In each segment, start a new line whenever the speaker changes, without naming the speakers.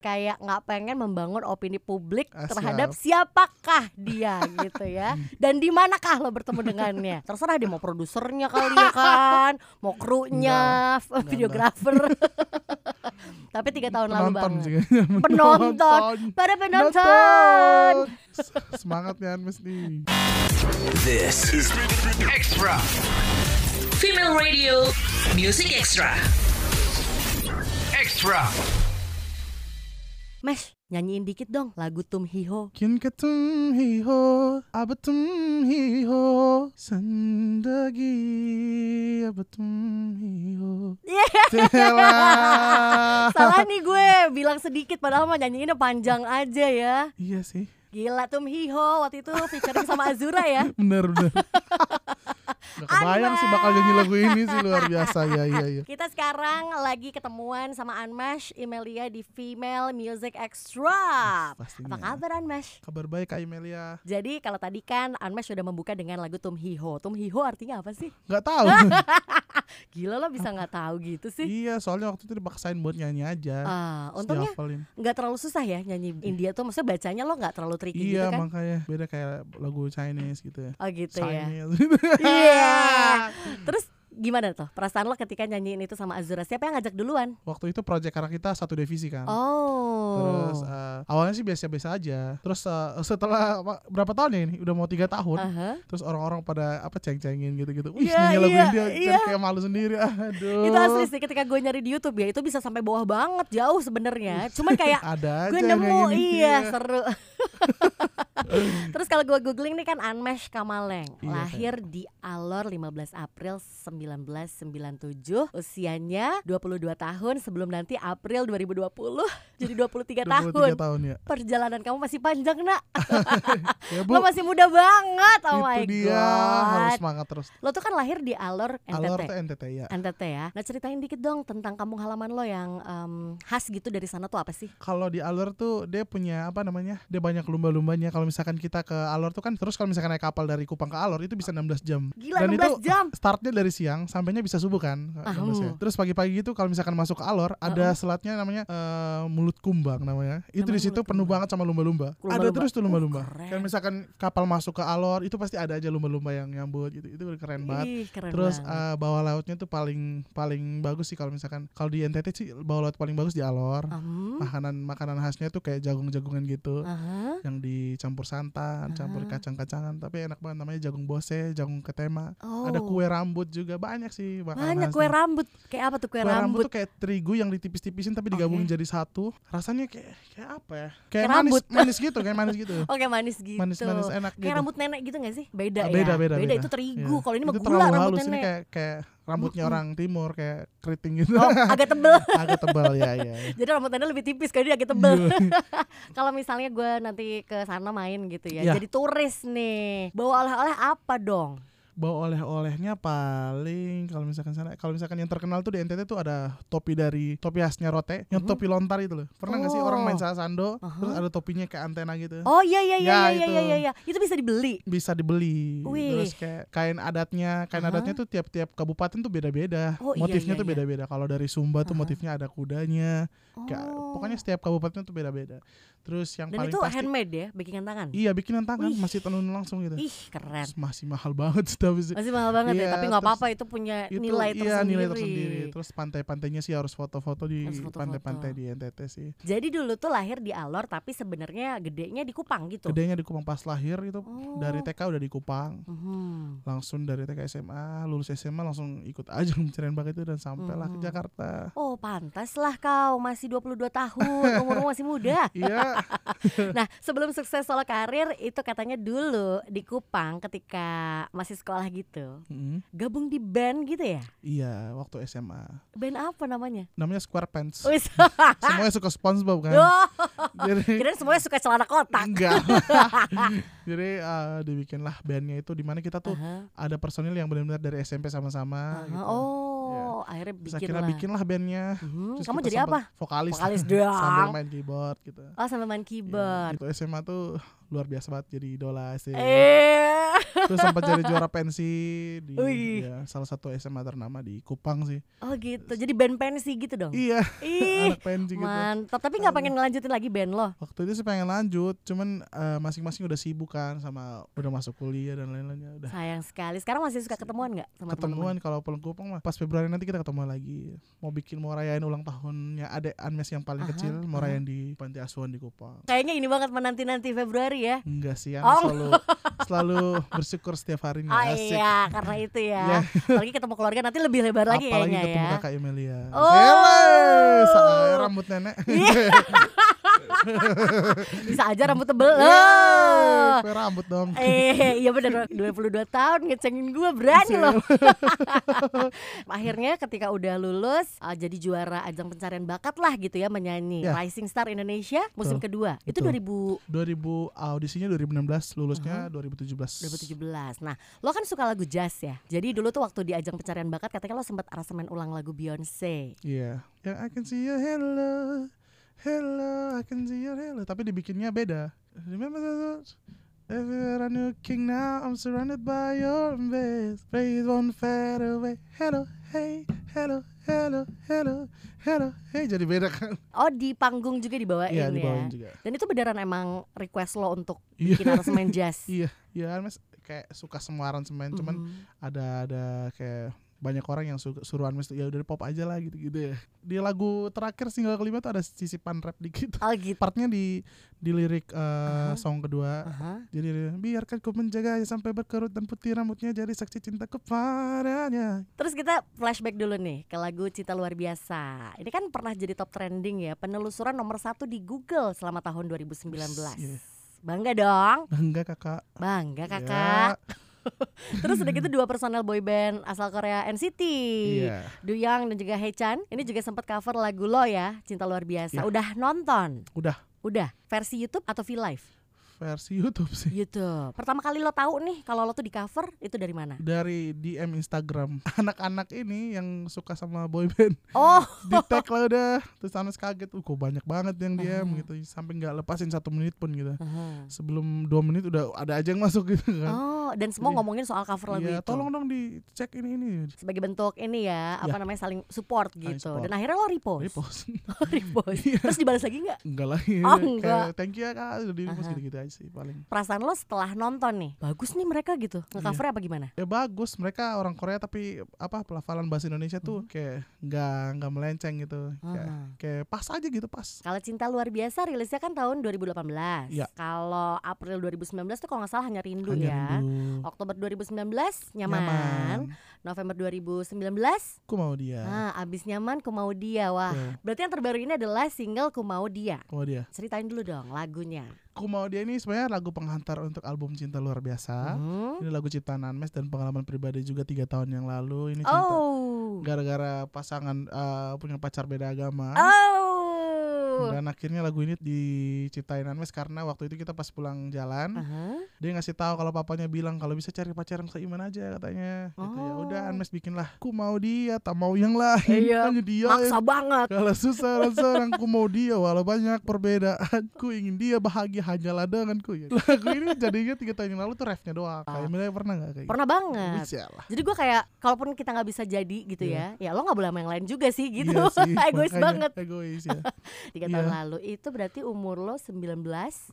kayak nggak pengen membangun opini publik
Ah,
terhadap siapakah dia gitu ya dan di manakah lo bertemu dengannya terserah dia mau produsernya kali ya kan mau krunya videografer tapi tiga tahun lalu
penonton
banget
juga.
penonton pada penonton
Penonton. Semangat ya Anmes nih.
This is Extra.
Female Radio Music Extra.
Extra.
Mesh nyanyiin dikit dong lagu Tum Hiho
Kin ketum hiho, abetum hiho, sendagi abetum hiho. Yelah.
Salah nih gue bilang sedikit padahal mah nyanyiinnya panjang aja ya.
Iya sih,
Gila Tum Hiho waktu itu featuring sama Azura ya.
bener bener. Gak kebayang sih bakal nyanyi lagu ini sih luar biasa ya iya iya.
Kita sekarang lagi ketemuan sama Anmash Imelia di Female Music Extra. Apa
Pastinya.
kabar Anmash?
Kabar baik Kak Imelia.
Jadi kalau tadi kan Anmash sudah membuka dengan lagu Tum Hiho. Tum Hiho artinya apa sih?
Gak tahu.
Gila lo bisa nggak tahu gitu sih.
iya, soalnya waktu itu dipaksain buat nyanyi aja.
Ah,
Terus
untungnya
dihafalin.
nggak terlalu susah ya nyanyi India tuh maksudnya bacanya lo nggak terlalu tricky
Iya,
gitu kan?
makanya beda kayak lagu Chinese gitu ya.
Oh gitu ya.
Chinese.
Iya. Terus gimana tuh perasaan lo ketika nyanyiin itu sama Azura? Siapa yang ngajak duluan?
waktu itu project karena kita satu divisi kan.
Oh.
Terus eh, awalnya sih biasa-biasa aja. Terus eh, setelah apa- berapa tahun ya ini? Udah mau tiga tahun.
Aha.
Terus orang-orang pada apa ceng-cengin gitu-gitu. Wih,
Iya,
nyanyi lagu
iya,
India
iya.
kayak malu sendiri. Aduh.
Itu asli sih ketika gue nyari di YouTube ya itu bisa sampai bawah banget jauh sebenarnya. Cuman kayak
Ada aja
gue
yang
nemu
kayak gitu ya. gini.
iya seru. Terus kalau gue googling nih kan Anmesh Kamaleng
Iya,
lahir di Alor 15 April 1997 usianya 22 tahun sebelum nanti April 2020 jadi 23 tahun.
23 tahun ya.
Perjalanan kamu masih panjang nak
Ya, Bu.
Lo masih muda banget Oh
itu
my
dia harus
god
semangat terus.
Lo tuh kan lahir di Alor
Alor
NTT
NTT ya.
NTT ya Nah ceritain dikit dong tentang kampung halaman lo yang em, khas gitu dari sana tuh apa sih?
kalau di Alor tuh dia punya apa namanya? Dia banyak lumba-lumbanya. Kalau misalkan kita ke Alor tuh kan terus kalau misalkan naik kapal dari Kupang ke Alor itu bisa 16 jam.
Gila
Dan
16
itu
jam
startnya dari siang sampainya bisa subuh kan 16 ya. terus pagi-pagi itu kalau misalkan masuk ke alor ada selatnya namanya eh, mulut kumbang namanya itu
Namanya
di situ
mulut
penuh banget sama lumba-lumba ada
Lumba-lumba.
terus tuh lumba-lumba
Uh, keren.
kalau misalkan kapal masuk ke alor itu pasti ada aja lumba-lumba yang nyambut gitu itu keren banget
Ih keren
Terus
banget
eh, bawah lautnya tuh paling paling bagus sih kalau misalkan kalau di NTT sih bawah laut paling bagus di Alor.
Em, uh-huh.
Makanan makanan khasnya tuh kayak jagung-jagungan gitu
aha.
yang dicampur
Ah.
santan, campur kacang-kacangan tapi enak banget namanya jagung bose, jagung ketema
Oh.
ada kue rambut juga banyak sih makanan
Banyak
khasnya.
kue rambut Kayak apa tuh kue,
Kue
rambut?
tuh kayak terigu yang ditipis-tipisin tapi digabungin jadi satu rasanya kayak kayak apa ya kayak
Kayak
manis
rambut.
manis gitu kayak manis gitu
Oke manis gitu
manis-manis enak
Kayak
gitu
rambut nenek gitu gak sih? Beda,
Ah,
ya
beda, beda, beda.
itu terigu
Iya.
Kalau ini mah
Itu
gula
terlalu
rambut
halus ini
nenek
kayak kayak rambutnya orang timur kayak keriting gitu
Oh agak tebel
agak tebal ya ya ya.
Jadi rambut anda lebih tipis karena dia agak tebel.
Iya.
Kalau misalnya gue nanti ke sana main gitu ya,
Iya.
jadi turis nih, bawa oleh-oleh apa dong?
bawa oleh-olehnya paling kalau misalkan sana kalau misalkan yang terkenal tuh di NTT tuh ada topi dari topi khasnya Rote yang topi lontar itu loh pernah nggak sih
Mm-hmm. Oh.
orang main sasando
Aha.
terus ada topinya kayak antena gitu
Oh iya iya iya
Ya,
iya
itu.
iya iya, iya. itu bisa dibeli.
bisa dibeli
Wih.
terus kayak kain adatnya kain
Aha.
adatnya tuh tiap-tiap kabupaten tuh beda-beda
Oh, iya,
motifnya
iya,
tuh
iya. Uh-huh.
beda-beda kalau dari Sumba tuh motifnya ada kudanya Kayak-
Oh.
pokoknya setiap kabupaten tuh beda-beda terus yang
Dan
paling
itu
pasti
handmade ya, bikinan tangan.
iya bikinan tangan
Wih.
masih tenun langsung gitu
Ih keren.
Terus masih mahal banget sih tapi sih.
Masih mahal banget ya,
Iya,
tapi nggak
terus
apa-apa itu punya
itu
nilai,
iya
tersendiri.
nilai tersendiri terus pantai-pantainya sih harus foto-foto di
Harus foto-foto.
pantai-pantai di NTT sih
Jadi dulu tuh lahir di Alor, tapi sebenarnya gedenya di Kupang gitu. Oh.
gedenya di Kupang pas lahir itu dari TK udah di Kupang
Mhm.
langsung dari TK SMA lulus SMA langsung ikut aja mencarian bak itu dan sampailah ke Jakarta
Oh pantas lah kau masih 22 tahun umurmu masih muda
iya
Nah sebelum sukses solo karir itu katanya dulu di Kupang ketika masih sekolah gitu
Mm,
Gabung di band gitu ya?
iya waktu SMA
Band apa namanya?
namanya SquarePants
Wis.
semuanya suka SpongeBob kan
Duh,
jadi
Kirain semuanya suka celana kotak
enggak jadi eh, dibikinlah bandnya itu dimana kita tuh
Aha,
ada personil yang benar-benar dari SMP sama-sama
aha.
gitu.
Oh akhirnya
Terus
bikin
akhirnya
lah
bikinlah bandnya
Mhm,
Terus
Kamu
kita
jadi apa?
sempat Vokalis.
Vokalis
Sambil
doang
main keyboard gitu.
Oh sambil main
Iya,
keyboard
gitu. SMA tuh luar biasa banget jadi idola sih.
Eh
terus sempat jadi juara pensi di
Wih.
ya, salah satu SMA ternama di Kupang sih
Oh gitu. Jadi band pensi gitu dong.
iya
Ih,
anak pensi gitu
mantap. Tapi nggak pengen ngelanjutin lagi band lo.
waktu itu sih pengen lanjut cuman eh, masing-masing udah sibuk kan sama udah masuk kuliah dan lain-lainnya udah
Sayang sekali. Sekarang masih suka ketemuan nggak sama teman-teman?
ketemuan kalau pulang Kupang mah pas Februari nanti kita ketemu lagi mau bikin mau rayain ulang tahunnya adek Anmes yang paling kecil mau rayain di panti asuhan di Kupang
Kayaknya ini banget menanti-nanti Februari ya.
enggak sih yang
Oh.
selalu selalu bersyukur setiap harinya
Ah
Nah, asik
iya, karena itu
Iya.
ya. Apalagi ketemu keluarga nanti lebih lebar lagi
apalagi
kayaknya
ketemu
ya.
kakak Eh, Emilia
Oh. Iya.
Sele, seair eh, rambut nenek
Bisa aja rambut tebel.
Yeay,
Oh.
kue rambut dong
Eh, iya benar 22 tahun ngecengin gue berani loh. Akhirnya ketika udah lulus eh, jadi juara ajang pencarian bakat lah gitu ya menyanyi
Ya.
Rising Star Indonesia musim kedua.
Betul.
Itu
2000 audisinya 2016 lulusnya
Uh-huh.
2017
2000 2017. Nah, lo kan suka lagu jazz ya. Jadi dulu tuh waktu di ajang pencarian bakat katanya lo sempat aransemen ulang lagu Beyonce.
iya yang I can see your hello hello I can see your hello tapi dibikinnya beda remember the thoughts? Everywhere I knew king now I'm surrounded by your embrace Praise won't fade away Hello, hey, hello, hello, hello, hello Hey, jadi beda kan?
Oh, di panggung juga dibawain ya.
Iya, dibawain juga
Dan itu beneran emang request lo untuk
Iya.
bikin aransemen jazz.
Iya, iya Anmes kayak suka semua aransemen, cuman
Mhm.
ada ada kayak banyak orang yang su- suruh Anmes tuh, ya udah pop aja lah gitu-gitu ya. Di lagu terakhir single kelima tuh ada sisipan rap dikit.
Oh gitu.
Partnya di di lirik eh, song kedua.
Aha.
Jadi biarkan ku menjaganya sampai berkerut dan putih rambutnya jadi saksi cinta kepadanya.
Terus kita flashback dulu nih ke lagu Cita Luar Biasa. Ini kan pernah jadi top trending ya, penelusuran nomor satu di Google selama tahun 2019.
Iya.
Bangga dong,
Bangga kakak.
bangga
Ya.
Iya, kakak. Terus udah gitu dua personel boyband asal Korea NCT,
Iya.
Duyang dan juga Haechan. Ini juga sempat cover lagu lo ya, Cinta Luar Biasa.
Iya.
Udah nonton?
Udah.
Udah. Versi YouTube atau V Live?
Versi YouTube sih.
YouTube. Pertama kali lo tahu nih kalau lo tuh di cover itu dari mana?
Iya. Dari DM Instagram anak-anak ini yang suka sama boyband
Oh,
di tag lah udah terus Anas kaget uh kok banyak banget yang dia gitu sampai nggak lepasin satu menit pun gitu sebelum dua menit udah ada aja yang masuk gitu kan
oh dan semua
Jadi-
ngomongin soal cover lagu Oh,
Iya,
itu.
tolong dong dicek ini ini
sebagai bentuk ini ya apa namanya saling support
Iya. Saling
gitu
support.
dan akhirnya lo repost,
repost Iya.
Lo repost. terus dibalas lagi nggak
enggak lah ya.
Oh,
Kayak,
enggak.
thank you ya kak udah di repost gitu gitu aja sih paling
perasaan lo setelah nonton nih bagus nih mereka gitu ngecover apa gimana
ya bagus mereka orang Korea tapi apa pelafalan bahasa Indonesia
Hmm.
tuh kayak nggak nggak melenceng gitu kayak, kayak pas aja gitu pas
kalau cinta luar biasa rilisnya kan tahun 2018
Iya.
kalau April 2019 tuh kalau nggak salah hanya rindu
Hanya
ya
rindu.
Oktober 2019 nyaman. November 2019
aku mau dia
nah abis nyaman ku mau dia wah
Tuh.
berarti yang terbaru ini adalah single ku mau dia
aku mau dia
ceritain dulu dong lagunya
aku mau dia ini sebenarnya lagu penghantar untuk album cinta luar biasa
Hmm.
Ini lagu ciptaan Anmes dan pengalaman pribadi juga tiga tahun yang lalu. Ini cinta
oh
gara-gara pasangan eh, punya pacar beda agama.
oh
Dan akhirnya lagu ini diciptain Anmes karena waktu itu kita pas pulang jalan,
Aha.
dia ngasih tahu kalau papanya bilang kalau bisa cari pacar yang seiman aja katanya. Gitu ya
Oh.
udah Anmes bikinlah. Ku mau dia, tak mau yang lain.
Iya,
Hanya dia.
maksa banget
Kalau susah rasa aku mau dia walau banyak perbedaan Ku ingin dia bahagia hanyalah denganku ya. Lagu ini jadinya tiga tahun yang lalu tuh refnya doang Kayak Mila pernah gak kayak
Ah.
gitu?
pernah banget
Bisa lah.
jadi gue kayak kalaupun kita nggak bisa jadi gitu ya ya lo nggak boleh sama yang lain juga sih gitu
Iya sih,
egois
makanya
banget
Egois ya.
tiga tahun
Iya.
lalu itu berarti umur lo 19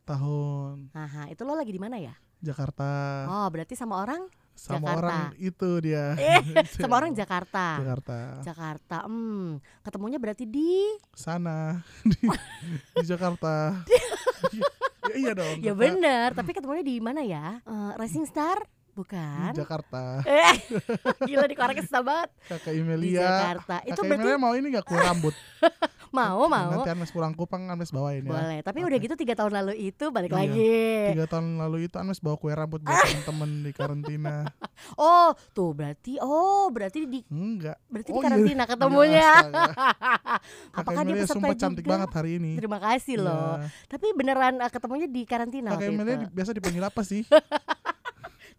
Tahun
Aha, itu lo lagi di mana ya
Jakarta
oh berarti sama orang
sama
Jakarta.
orang itu dia.
eh
Iya.
sama orang Jakarta
Jakarta.
Jakarta hmm ketemunya berarti di
Sana di, di Jakarta. Iya, ya iya dong.
ya
Kakak.
bener tapi ketemunya di mana ya Eh, Racing Star
Di
bukan
Jakarta.
eh gila di Korea kesel banget
Kakak
di
Imelia.
Jakarta itu
Kakak
berarti
Imelia mau ini gak kue rambut?
mau mau
Nanti Anmes pulang Kupang Anmes bawain ya.
Boleh, tapi udah gitu tiga tahun lalu itu balik
Iya.
lagi.
Tiga tahun lalu itu Anmes bawa kue rambut
Ah.
buat temen-temen di karantina.
Oh, tuh berarti oh berarti di
Enggak.
berarti di
Oh, iya.
karantina ketemunya.
Astaga. Kakak
Apakah dia
Imelia
peserta
sumpah
juga?
cantik banget hari ini.
Terima kasih loh.
Iya.
Tapi beneran eh, ketemunya di karantina
Kakak
waktu
Imelia
itu.
di- biasa dipanggil apa sih?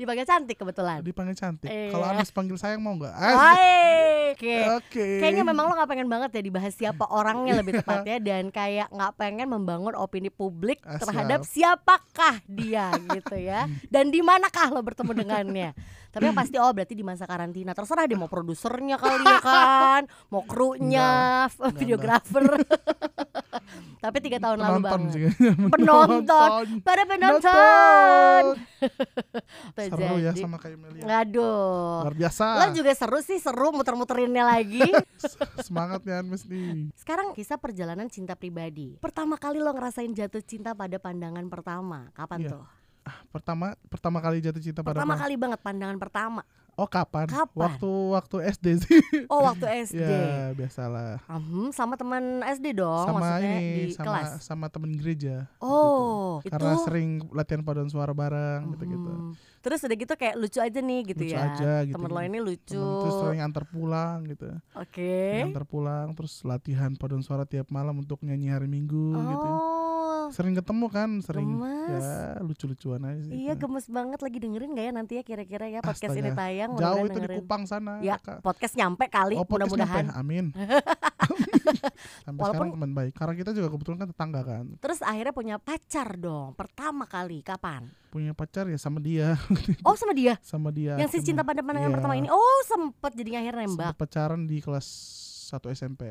Dipanggil cantik kebetulan.
Dipanggil cantik.
Iya.
Kalau Agnes panggil sayang mau nggak? Ah,
Hai. Oke.
Oke.
Kayaknya memang lo gak pengen banget ya dibahas siapa orangnya
Iya.
lebih tepatnya dan kayak nggak pengen membangun opini publik
Ah, siap.
terhadap siapakah dia gitu ya dan di manakah lo bertemu dengannya. Tapi yang pasti oh berarti di masa karantina terserah dia mau produsernya kali ya kan, mau krunya, videografer. Tapi tiga tahun lalu
penonton
banget.
sih.
Penonton. Para penonton.
Seru ya
Jadi-
sama kayak Melia.
Aduh.
Luar biasa.
Lo juga seru sih, seru muter-muterinnya lagi.
Semangatnya Agnes nih.
Sekarang kisah perjalanan cinta pribadi. Pertama kali lo ngerasain jatuh cinta pada pandangan pertama. Kapan
Iya.
tuh?
Ah, pertama pertama kali jatuh cinta pada
Pertama
apa?
kali banget pandangan pertama.
Oh kapan?
Kapan?
Waktu waktu SD sih.
Oh, waktu SD.
ya biasalah.
Mhm, sama teman SD dong, Oh,
sama
maksudnya di
ini
kelas.
sama sama temen gereja. Gitu.
Oh, itu.
Karena sering latihan paduan suara bareng gitu-gitu.
Mhm. Terus udah gitu kayak lucu aja nih gitu
Lucu
ya.
aja gitu.
Temen lo ini lucu.
Temen terus sering antar pulang gitu.
Oke.
Antar pulang terus latihan paduan suara tiap malam untuk nyanyi hari Minggu gitu.
Oh.
Sering ketemu kan, sering
Gemes.
ya lucu-lucuan aja sih.
Iya
Nah.
gemes banget lagi dengerin gak ya nanti ya kira-kira ya podcast
Astaga.
ini tayang
Jauh
mudah-mudahan
itu di
dengerin.
Kupang sana.
Ya,
Kakak.
podcast nyampe kali
Oh, podcast
mudah-mudahan.
nyampe, Amin. Sampai
Walaupun-
sekarang teman baik. Karena kita juga kebetulan kan tetangga kan.
Terus akhirnya punya pacar dong. Pertama kali kapan?
Punya pacar ya sama dia,
Oh sama dia.
sama dia.
Yang si cinta
Cuma-
pada pandangan
Iya.
pertama ini. Oh sempet jadinya akhirnya
Sempet
nembak.
pacaran di kelas 1 SMP.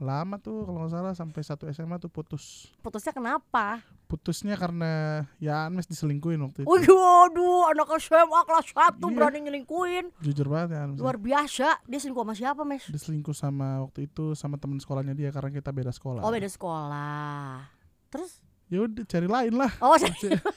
Lama tuh kalau nggak salah sampai 1 SMA tuh putus.
Putusnya kenapa?
Putusnya karena ya Anmes diselingkuhin waktu itu.
Wih, waduh anak SMA kelas 1
Iya.
berani nyelingkuin.
Jujur banget ya Anmes.
Luar biasa. Dia selingkuh sama siapa, Mes?
Diselingkuh sama waktu itu sama teman sekolahnya dia karena kita beda sekolah.
Oh beda sekolah. Terus?
Ya udah cari lain lah.
Oh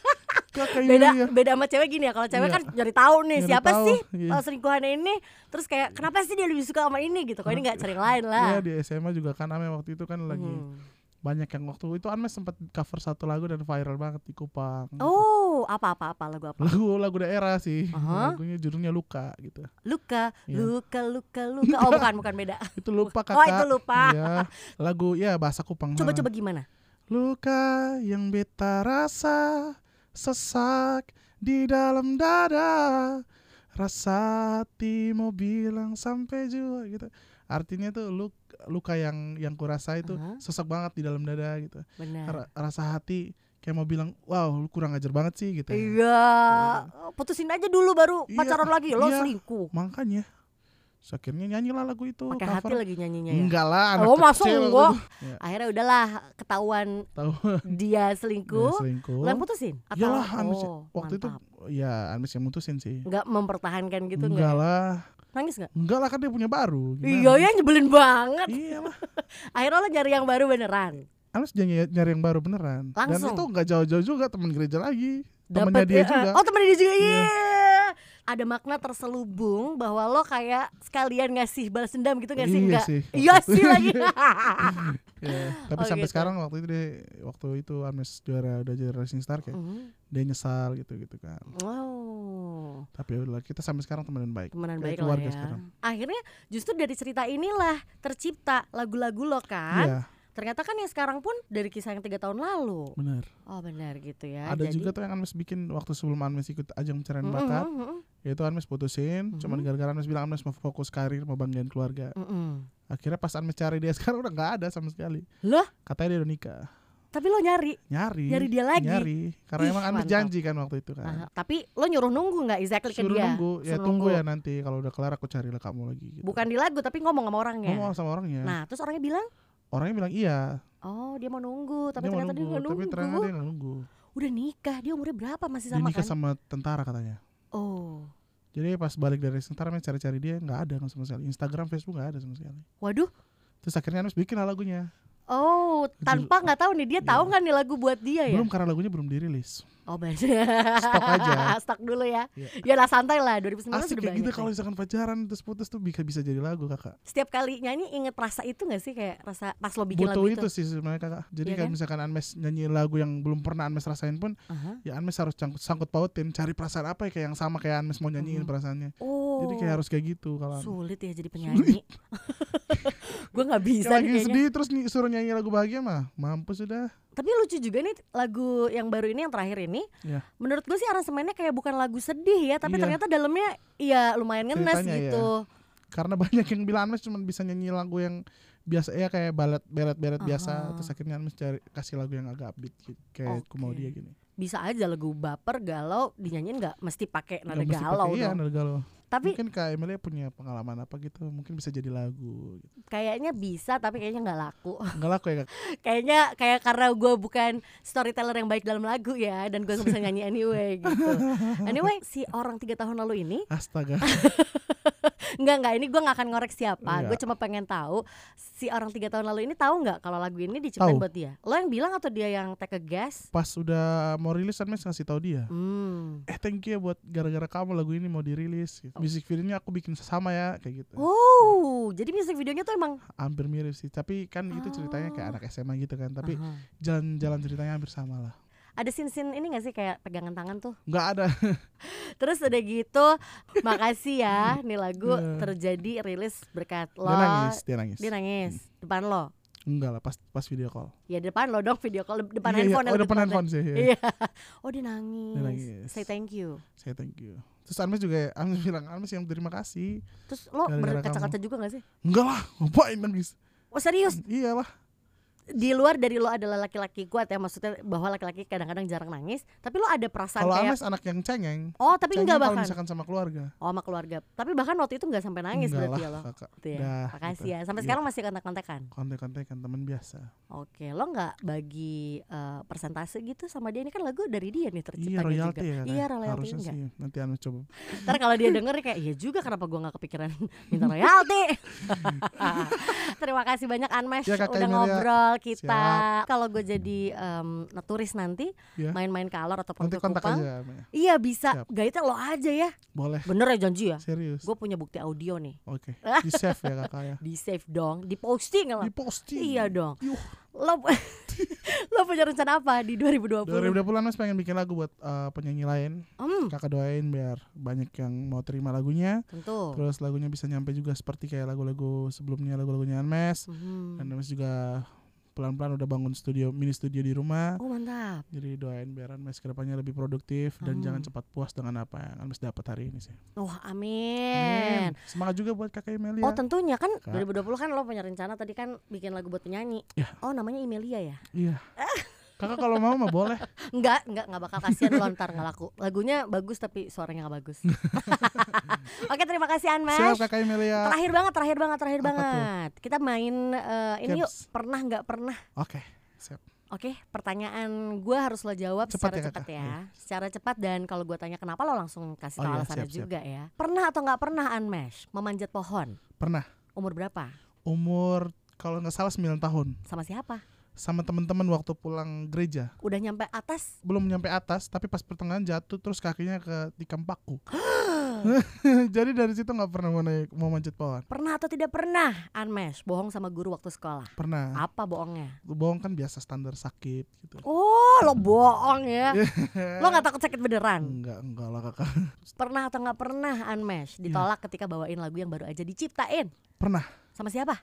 Kakak ini
beda
ya.
beda sama cewek gini ya. Kalau cewek
Iya.
kan nyari tahu nih
Nyari
siapa
tahu,
sih
iya.
eh, selingkuhannya ini. Terus kayak kenapa sih dia lebih suka sama ini gitu. Kok ini nggak cari lain lah.
Iya, di SMA juga kan Ame waktu itu kan lagi
Hmm.
banyak yang waktu itu Anmes sempat cover satu lagu dan viral banget di Kupang.
Oh apa-apa apa lagu apa?
Lagu lagu daerah sih.
Aha.
Lagunya judulnya Luka gitu.
Luka,
Iya. Nah.
luka, luka, luka. Oh bukan, bukan beda.
Itu lupa kakak.
Oh, itu lupa.
Iya. Lagu ya bahasa Kupang. sana.
Coba-coba gimana?
Luka yang beta rasa sesak di dalam dada. Rasa hatimu bilang sampai jua gitu. Artinya tuh luk- luka yang yang kurasa itu
Aha.
sesak banget di dalam dada gitu.
Benar.
Ra- rasa hati kayak mau bilang, "Wow, lu kurang ajar banget sih" gitu.
Iya, putusin aja dulu baru
Iya,
pacaran lagi. Lo
iya.
selingkuh.
Makanya terus akhirnya nyanyilah lagu itu
Pakai
cover.
hati lagi nyanyinya ya.
Enggak lah, anak
Oh, masa enggak?
kecil waktu itu. Ya,
Akhirnya udahlah ketahuan
tahu.
dia
Dia
selingkuh.
selingkuh.
Lo yang putusin? Atau
Iyalah, Anmes ya.
oh,
waktu
mantap.
itu ya Anmes yang mutusin sih.
nggak mempertahankan gitu
enggak
enggak?
lah,
Nangis nggak?
enggak lah kan dia punya baru. gimana?
Iya ya nyebelin banget.
Iya lah.
Akhirnya lo nyari yang baru beneran.
Anmes nyari, nyari yang baru beneran.
Langsung.
Dan itu enggak jauh-jauh juga teman gereja lagi.
Dapet,
Temannya dia
eh, eh,
juga.
Oh temennya dia juga. Iya. Ada makna terselubung bahwa lo kayak sekalian ngasih balas dendam gitu nggak sih?
Iya
Enggak.
sih.
Iya sih lagi.
Iya. Tapi
Oh,
sampai
gitu.
sekarang waktu itu dia waktu itu Anmes juara udah jadi Racing Star kayak
Mhm.
dia nyesal gitu-gitu kan.
Wow.
Tapi udah kita sampai sekarang temenan baik.
Temenan
Kayak
baik lah
keluarga
ya.
sekarang.
Akhirnya justru dari cerita inilah tercipta lagu-lagu lo kan.
Iya,
Ternyata kan yang sekarang pun dari kisah yang tiga tahun lalu.
benar.
Oh benar gitu ya.
Ada
Jadi-
juga tuh yang Anmes bikin waktu sebelum Anmes ikut ajang pencarian
Mm-mm,
bakat,
mm-mm,
yaitu Anmes putusin, cuman gara-gara Anmes bilang Anmes mau fokus karir, mau banggain keluarga.
mm-mm.
Akhirnya pas Anmes cari dia sekarang udah nggak ada sama sekali.
Loh,
Katanya dia udah nikah.
tapi lo nyari.
Nyari.
Nyari dia lagi?
Nyari. Karena
Ih,
emang Anmes
mantap.
janji kan waktu itu
Nah,
kan.
tapi lo nyuruh nunggu nggak exactly ke
Suruh
dia?
nunggu, ya
Suruh
tunggu
nunggu.
ya nanti kalau udah kelar aku carilah kamu lagi gitu.
Bukan di lagu tapi ngomong sama orangnya.
Ngomong sama orangnya.
Nah, terus orangnya bilang,
Orangnya bilang iya,
"Oh, dia mau nunggu, tapi
dia mau
ternyata dia
nunggu,
nggak nunggu.
tapi ternyata dia nggak nunggu.
Udah nikah, dia umurnya berapa masih
Dia
sama
nikah
kan?"
sama tentara katanya.
Oh.
Jadi pas balik dari Sentara men cari-cari dia nggak ada sama sekali. Instagram, Facebook nggak ada sama sekali.
Waduh.
Terus akhirnya Anmes bikin lah lagunya.
Oh, tanpa nggak tahu nih dia tahu nggak nih lagu buat dia ya?
Iya. Belum karena lagunya belum dirilis.
Oh, benar.
Stok aja.
Stok dulu ya.
Iya.
Ya lah santai lah 2019 udah
Asik kayak
banyak.
gitu kalau
nih.
misalkan pacaran terus putus tuh bisa bisa jadi lagu kakak.
Setiap kali nyanyi inget rasa itu nggak sih kayak rasa pas lo bikin
Butuh
lagu
itu.
itu?
sih sebenarnya kakak. Jadi
Iya
kayak
kan?
misalkan Anmes nyanyi lagu yang belum pernah Anmes rasain pun,
Aha.
ya Anmes harus sangkut, sangkut pautin cari perasaan apa ya kayak yang sama kayak Anmes mau nyanyiin perasaannya.
Hmm. Oh.
Jadi kayak harus kayak gitu kalau Anmes.
sulit ya jadi penyanyi. Gue nggak
Kayak
bisa nih
lagi
kayaknya.
sedih terus ny- suruh nyanyi lagu bahagia mah mampus sudah
Tapi lucu juga nih lagu yang baru ini yang terakhir ini.
Iya.
Menurut gue sih aransemennya kayak bukan lagu sedih ya, tapi
Iya.
ternyata dalamnya ya lumayan ngenes
Ceritanya,
gitu.
karena banyak yang bilang Anmes cuma bisa nyanyi lagu yang biasa ya kayak balet beret beret biasa
Aha.
terus akhirnya Anmes cari kasih lagu yang agak upbeat gitu,
Oke.
kayak aku mau dia gini
Bisa aja lagu baper galau dinyanyiin nggak mesti pakai nada
Nggak mesti
galau
pakai- iya,
dong.
nada galau
Tapi
mungkin kak Emilia punya pengalaman apa gitu mungkin bisa jadi lagu gitu.
kayaknya bisa tapi kayaknya nggak laku.
nggak laku ya kak
kayaknya kayak karena gue bukan storyteller yang baik dalam lagu ya dan gue nggak bisa nyanyi anyway gitu. Anyway si orang tiga tahun lalu ini
astaga
Enggak enggak ini gue nggak akan ngorek siapa.
Iya.
Gue cuma pengen tahu si orang tiga tahun lalu ini tahu nggak kalau lagu ini diciptain
Tahu.
buat dia. Lo yang bilang atau dia yang take a guess?
pas udah mau rilis Anmes ngasih tahu dia
Hmm.
eh thank you ya buat gara-gara kamu lagu ini mau dirilis gitu. music videonya aku bikin sama ya kayak gitu
Oh, jadi music videonya tuh emang
hampir mirip sih tapi kan itu ceritanya kayak anak SMA gitu kan tapi
Oh. Aha.
jalan-jalan ceritanya hampir sama lah
ada scene-scene ini gak sih kayak pegangan tangan tuh.
nggak ada
Terus udah gitu, makasih ya, nih lagu
Iya.
terjadi rilis berkat lo.
dia nangis dia nangis
Dia nangis. depan lo.
enggak lah pas pas video call
Ya depan lo dong video call depan
Iya, iya.
handphone. yang
oh,
lebih
depan
tepatnya.
handphone sih iya.
Iya. Oh dia nangis.
Dia nangis.
Say thank you.
saya thank you terus Anmes juga Anmes bilang Anmes yang terima kasih
Terus lo
Gara-gara
berkaca-kaca juga gak sih?
enggak lah ngapain Iya nangis
Oh serius?
iyalah
di luar dari lo adalah laki-laki kuat ya maksudnya bahwa laki-laki kadang-kadang jarang nangis tapi lo ada perasaan
kalau
kayak
Anmes anak yang cengeng
oh tapi
cengeng
enggak
kalau
bahkan
misalkan sama keluarga
oh sama keluarga tapi bahkan waktu itu enggak sampai nangis
enggak
berarti
lah
ya lo
kakak
Gitu ya.
Dah,
makasih
gitu.
ya sampai
Iya.
sekarang masih kontak-kontakan
kontek-kontekan teman biasa
oke lo nggak bagi eh, persentase gitu sama dia ini kan lagu dari dia nih
iya
terciptanya juga
royalti ya Kak.
iya royalti
harusnya
enggak
sih nanti Anmes coba
ntar kalau dia denger kayak iya juga kenapa gua nggak kepikiran minta royalti terima kasih banyak Anmesh
Ya, Kakak
udah
Emilia.
ngobrol kita kalau gue jadi em, naturis nanti
Ya.
main-main ke Alor atau
nanti
ke
kontak
Kupang
aja Anmes.
iya bisa
Siap.
gaitnya lo aja ya
boleh
bener ya janji ya
serius
gue punya bukti audio nih
oke di save ya kakak ya
di save dong di posting
di
lo
posting
iya dong
Yuh.
lo lo punya rencana apa di 2020
2020 Anmes pengen bikin lagu buat eh, penyanyi lain
hmm
kakak doain biar banyak yang mau terima lagunya
tentu
terus lagunya bisa nyampe juga seperti kayak lagu-lagu sebelumnya lagu-lagunya Anmes
Mhm.
dan Anmes juga pelan-pelan udah bangun studio mini studio di rumah
oh mantap
jadi doain biar Anmes kedepannya lebih produktif dan
Hmm.
jangan cepat puas dengan apa yang Anmes dapat hari ini sih
wah amin
semangat juga buat kakak Emilia
Oh tentunya kan
Iya. Kak.
2020 kan lo punya rencana tadi kan bikin lagu buat penyanyi.
Iya.
Oh namanya Imelia ya?
iya kakak kalau mau mah boleh
Enggak, enggak enggak bakal kasihan lo ntar nggak laku. Lagunya bagus tapi suaranya nggak bagus. Oke terima kasih
siap
Anmas.
kakak Emilia
Terakhir banget, terakhir banget, terakhir
Apa
banget. Kita main eh, ini yuk
Games.
pernah nggak pernah.
oke siap
Oke, pertanyaan gua harus lo jawab
Cepat
secara
ya,
cepat
Kakak.
ya, secara cepat dan kalau gua tanya kenapa lo langsung kasih
Oh,
tahu
iya,
alasannya
siap, siap.
juga ya. Pernah atau nggak pernah Anmesh memanjat pohon?
pernah
Umur berapa?
umur kalau nggak salah 9 tahun
Sama siapa?
sama teman-teman waktu pulang gereja
Udah nyampe atas?
belum nyampe atas tapi pas pertengahan jatuh terus kakinya ke tikam paku jadi dari situ nggak pernah mau naik mau manjat pohon
Pernah atau tidak pernah Anmesh bohong sama guru waktu sekolah?
pernah
Apa bohongnya?
bohong kan biasa standar sakit gitu
Oh, lo bohong ya.
Iya.
lo nggak takut sakit beneran?
enggak enggak lah kakak
Pernah atau nggak pernah Anmesh ditolak ketika bawain lagu yang baru aja diciptain?
Iya. pernah
Sama siapa?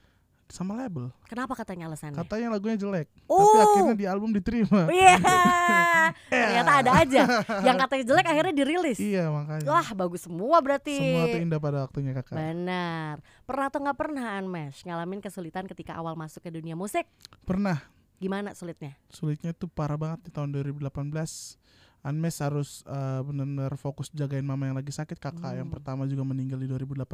sama label
Kenapa katanya alasannya?
katanya lagunya jelek tapi
Iya. Oh.
akhirnya di album diterima
Iya. Ternyata ada aja yang katanya jelek akhirnya dirilis.
iya makanya
Wah, bagus semua berarti.
semua tuh indah pada waktunya kakak
Benar. Pernah atau nggak pernah Anmesh ngalamin kesulitan ketika awal masuk ke dunia musik?
pernah
Gimana sulitnya?
sulitnya tuh parah banget di tahun 2018 Anmes harus eh, bener-bener fokus jagain mama yang lagi sakit kakak
Hmm.
yang pertama juga meninggal di 2018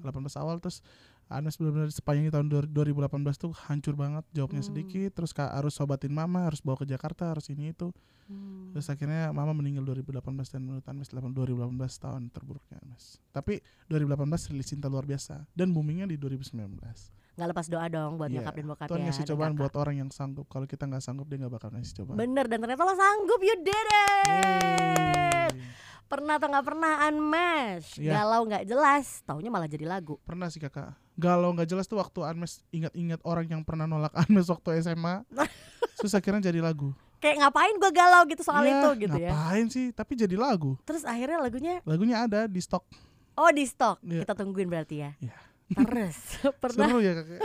18 awal terus Anes benar-benar sepanjang tahun dua- 2018 tuh hancur banget jawabnya
Hmm.
sedikit terus ka- harus sobatin mama harus bawa ke Jakarta harus ini itu
Hmm.
terus akhirnya mama meninggal 2018 dan menurut Anes 8 2018 tahun terburuknya Anes tapi 2018 rilis cinta luar biasa dan boomingnya di 2019
Nggak lepas doa dong buat
Iya.
nyokap dan bokap
Tuhan
ya.
ngasih
dan
cobaan
kakak.
buat orang yang sanggup kalau kita nggak sanggup dia nggak bakal ngasih cobaan
Bener dan ternyata lo sanggup you did it.
Yeay.
Pernah atau nggak pernah unmesh
Iya.
Galau nggak jelas Taunya malah jadi lagu
pernah sih kakak galau nggak jelas tuh waktu Anmes ingat-ingat orang yang pernah nolak Anmes waktu SMA terus akhirnya jadi lagu
Kayak ngapain gue galau gitu soal
Ya,
itu gitu ya
ngapain sih tapi jadi lagu
Terus akhirnya lagunya
lagunya ada di stok
Oh di stok
Iya.
Kita tungguin berarti ya
Iya.
Terus Pernah
seru ya kakak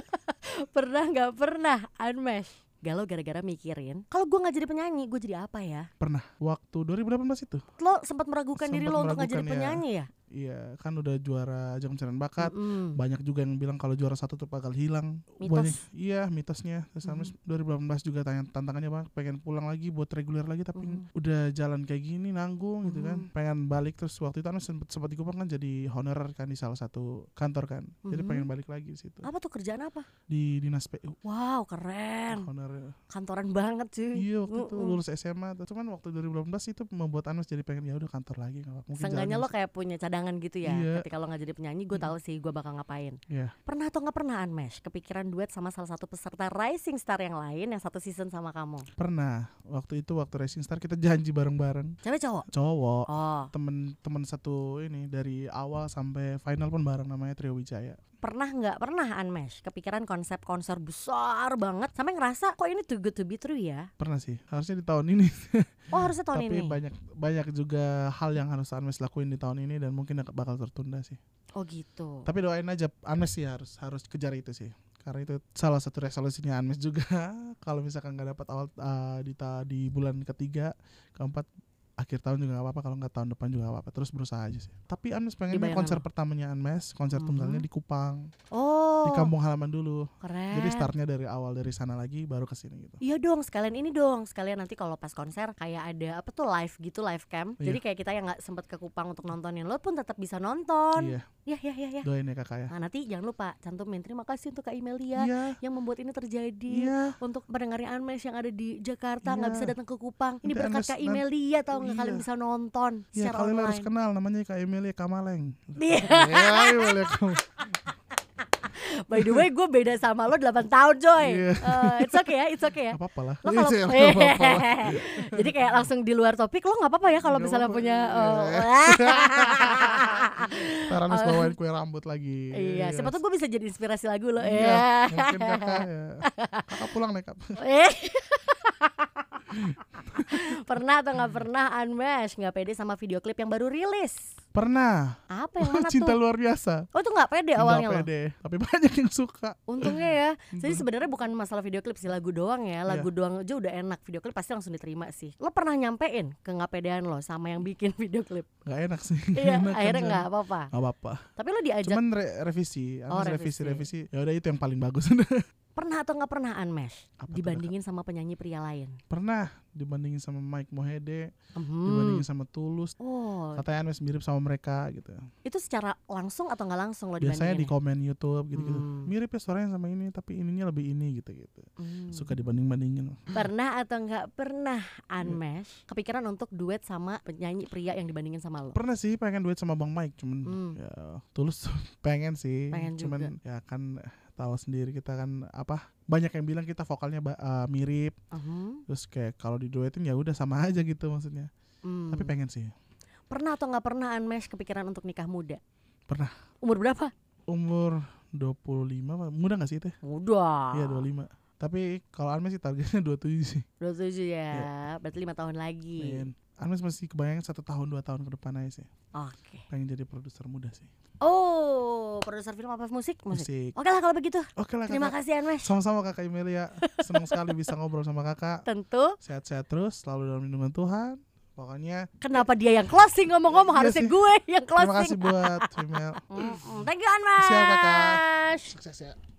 pernah nggak pernah unmesh galau gara-gara mikirin kalau gue nggak jadi penyanyi gue jadi apa ya
Pernah waktu 2018 itu.
lo sempat meragukan diri
Sempat
lo untuk nggak jadi
meragukan, ya.
penyanyi ya,
Iya, kan udah juara ajang pencarian bakat.
Mm-mm.
Banyak juga yang bilang kalau juara satu tuh bakal hilang.
Hmm. Mitos.
Banyak, iya, mitosnya. Terus habis 2018 juga tanya tantangannya bang, pengen pulang lagi buat reguler lagi tapi udah jalan kayak gini nanggung gitu kan. Pengen balik terus waktu itu Anas sempat sempat dikupang kan jadi honorer kan di salah satu kantor kan. Jadi
Mhm.
pengen balik lagi di situ
apa tuh kerjaan apa
di dinas PU.
wow keren
Honorer.
kantoran banget cuy
Iya waktu itu
Mm-mm.
lulus SMA tuh. cuman waktu 2018 itu membuat Anas jadi pengen ya udah kantor lagi nggak apa-apa. Mungkin
Seenggaknya lo
jalannya-
kayak punya cadangan gitu ya
Iya. Mm.
Ketika lo gak jadi penyanyi gue tahu sih gue bakal ngapain
Iya.
Pernah atau gak pernah Anmesh Kepikiran duet sama salah satu peserta Rising Star yang lain Yang satu season sama kamu
Pernah. Waktu itu waktu Racing Star kita janji bareng-bareng.
Cewek cowok?
Cowok.
Oh
Temen-temen satu ini dari awal sampai final pun bareng namanya Trio Wijaya.
Pernah nggak pernah Anmesh Kepikiran konsep konser besar banget Sampai ngerasa kok ini too good to be true ya
Pernah sih. Harusnya di tahun ini.
Oh harusnya tahun
Tapi
ini
banyak banyak juga hal yang harus Anmes lakuin di tahun ini dan mungkin bakal tertunda sih.
Oh gitu
Tapi doain aja Anmes sih harus harus kejar itu sih. Karena itu salah satu resolusinya Anmes juga. Kalau misalkan nggak dapat awal eh, di ta- di bulan ketiga, keempat akhir tahun juga nggak apa-apa kalau nggak tahun depan juga nggak apa-apa terus berusaha aja sih tapi Anmes
Di
pengen
bayangan
konser
lo.
pertamanya Anmes konser
Mhm.
tunggalnya di Kupang
Oh
di kampung halaman dulu
keren
jadi startnya dari awal dari sana lagi baru ke sini gitu
Iya dong, sekalian ini dong, sekalian nanti kalau pas konser kayak ada apa tuh live gitu, live cam.
Iya.
Jadi kayak kita yang nggak sempet ke Kupang untuk nontonin lo pun tetap bisa nonton.
iya
Iya, iya, iya, iya.
doain ya kakak ya
Nah, nanti jangan lupa cantumin terima kasih untuk Kak Imelia
iya
yang membuat ini terjadi.
iya
Untuk pendengarnya Anmes yang ada di Jakarta
Iya.
nggak bisa datang ke Kupang. Ini
Nanti
berkat
Anmes
Kak
nan-
Imelia tahu nggak
Iya.
kalian bisa nonton
Ya
secara
kalian harus
online.
kenal namanya Kak Emilia Kamaleng.
Iya.
ya, Emilia Kamaleng.
By the way, gue beda sama lo 8 tahun, Joy.
Iya.
Eh, it's okay ya, it's okay ya.
Gak apa-apa lah.
lo kalau
Iya, gak apa-apa lah.
jadi kayak langsung di luar topik lo nggak apa-apa ya kalau
Nggak
misalnya
apa-apa,
punya
iya.
oh.
Ntar harus bawain kue rambut lagi.
iya siapa tuh gue bisa jadi inspirasi lagu lo
Iya,
ya
mungkin kakak ya. Kakak pulang deh kak.
Eh. pernah atau nggak pernah unmesh nggak pede sama video klip yang baru rilis
Pernah.
apa yang mana
Oh, Cinta
tuh
luar biasa.
oh itu nggak pede awalnya
Nggak
lo
pede, tapi banyak yang suka.
untungnya ya
Mhm.
jadi sebenarnya bukan masalah video klip sih lagu doang ya lagu
Iya.
doang aja udah enak video klip pasti langsung diterima sih lo pernah nyampein ke nggak pedean lo sama yang bikin video klip
Gak enak sih. Nggak
Iya,
enak,
akhirnya
kan,
nggak apa-apa.
Gak apa-apa.
Tapi lo diajak
Cuman re- revisi,
Oh,
harus revisi,
revisi.
revisi. Ya udah itu yang paling bagus.
pernah atau nggak pernah unmesh
Apa tuh,
dibandingin sama penyanyi pria lain?
Pernah dibandingin sama Mike Mohede,
Mhm.
dibandingin sama Tulus.
Oh,
Katanya Anmes mirip sama mereka gitu.
itu secara langsung atau nggak langsung lo
biasanya di
dibandingin? ya?
komen YouTube gitu-gitu
Hmm.
mirip ya suaranya sama ini tapi ininya lebih ini gitu-gitu suka Iya. dibanding-bandingin
Pernah atau nggak pernah unmesh kepikiran untuk duet sama penyanyi pria yang dibandingin sama lo?
pernah sih pengen duet sama Bang Mike cuman
Hmm.
ya, tulus pengen sih
Pengen
cuman ya kan eh, tahu sendiri kita kan apa banyak yang bilang kita vokalnya ba- eh, mirip
Mhm.
terus kayak kalau diduetin ya udah sama aja gitu maksudnya
Hmm.
tapi pengen sih
Pernah atau nggak pernah unmesh kepikiran untuk nikah muda?
Pernah.
Umur berapa?
umur 25 apa? muda gak sih teh
Muda.
iya 25 tapi kalau Anmes sih targetnya 27 sih
27 ya.
Iya.
Berarti lima tahun lagi.
Dan Anmes anu masih kebayang satu tahun dua tahun ke depan aja sih
Oke.
pengen jadi produser muda sih
Oh, produser film apa musik? Musik.
musik
Oke lah kalau begitu.
Oke lah
Terima
kakak.
kasih Anmesh.
Sama-sama kakak Imelia. Senang sekali bisa ngobrol sama kakak.
Tentu
Sehat-sehat terus, selalu dalam lindungan Tuhan. Pokoknya
Kenapa dia yang closing ngomong-ngomong
Iya
harusnya
sih.
gue yang
terima kasih
closing.
buat female.
Mm-mm. Thank you
Siap, Kakak.
Anmash.
Sukses ya.